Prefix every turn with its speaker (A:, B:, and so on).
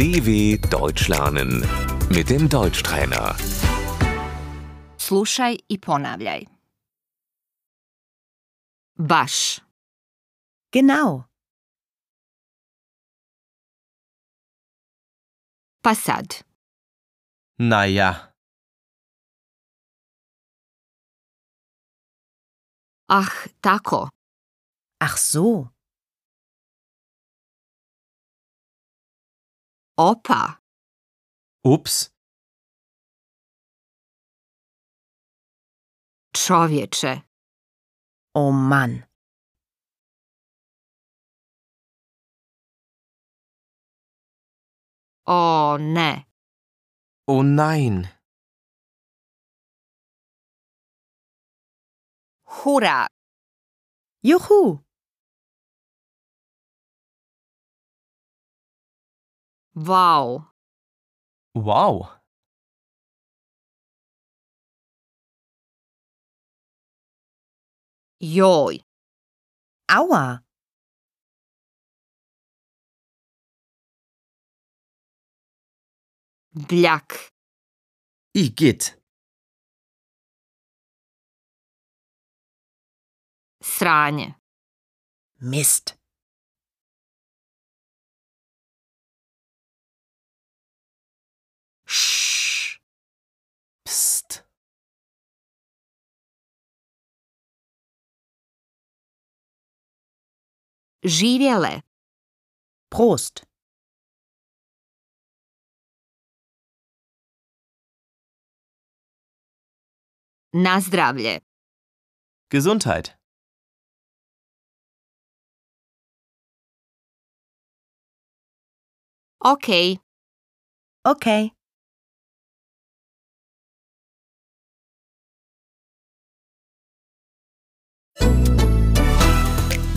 A: DW Deutsch lernen mit dem Deutschtrainer.
B: Slušaj i ponavljaj. Baš,
C: Genau.
B: pa sad,
D: Naja,
B: ah, tako,
C: Ach so.
B: opa,
D: ups,
B: čovječe,
C: Oh Mann.
B: o ne,
D: oh nein,
B: hura,
C: Juhu.
B: vau,
D: wow,
B: joj,
C: Aua.
B: bljak,
D: igitt,
B: sranje,
C: Mist.
B: šš,
D: pst,
B: živjele,
C: Prost.
B: nazdravlje,
D: Gesundheit,
B: okej.
C: Okay.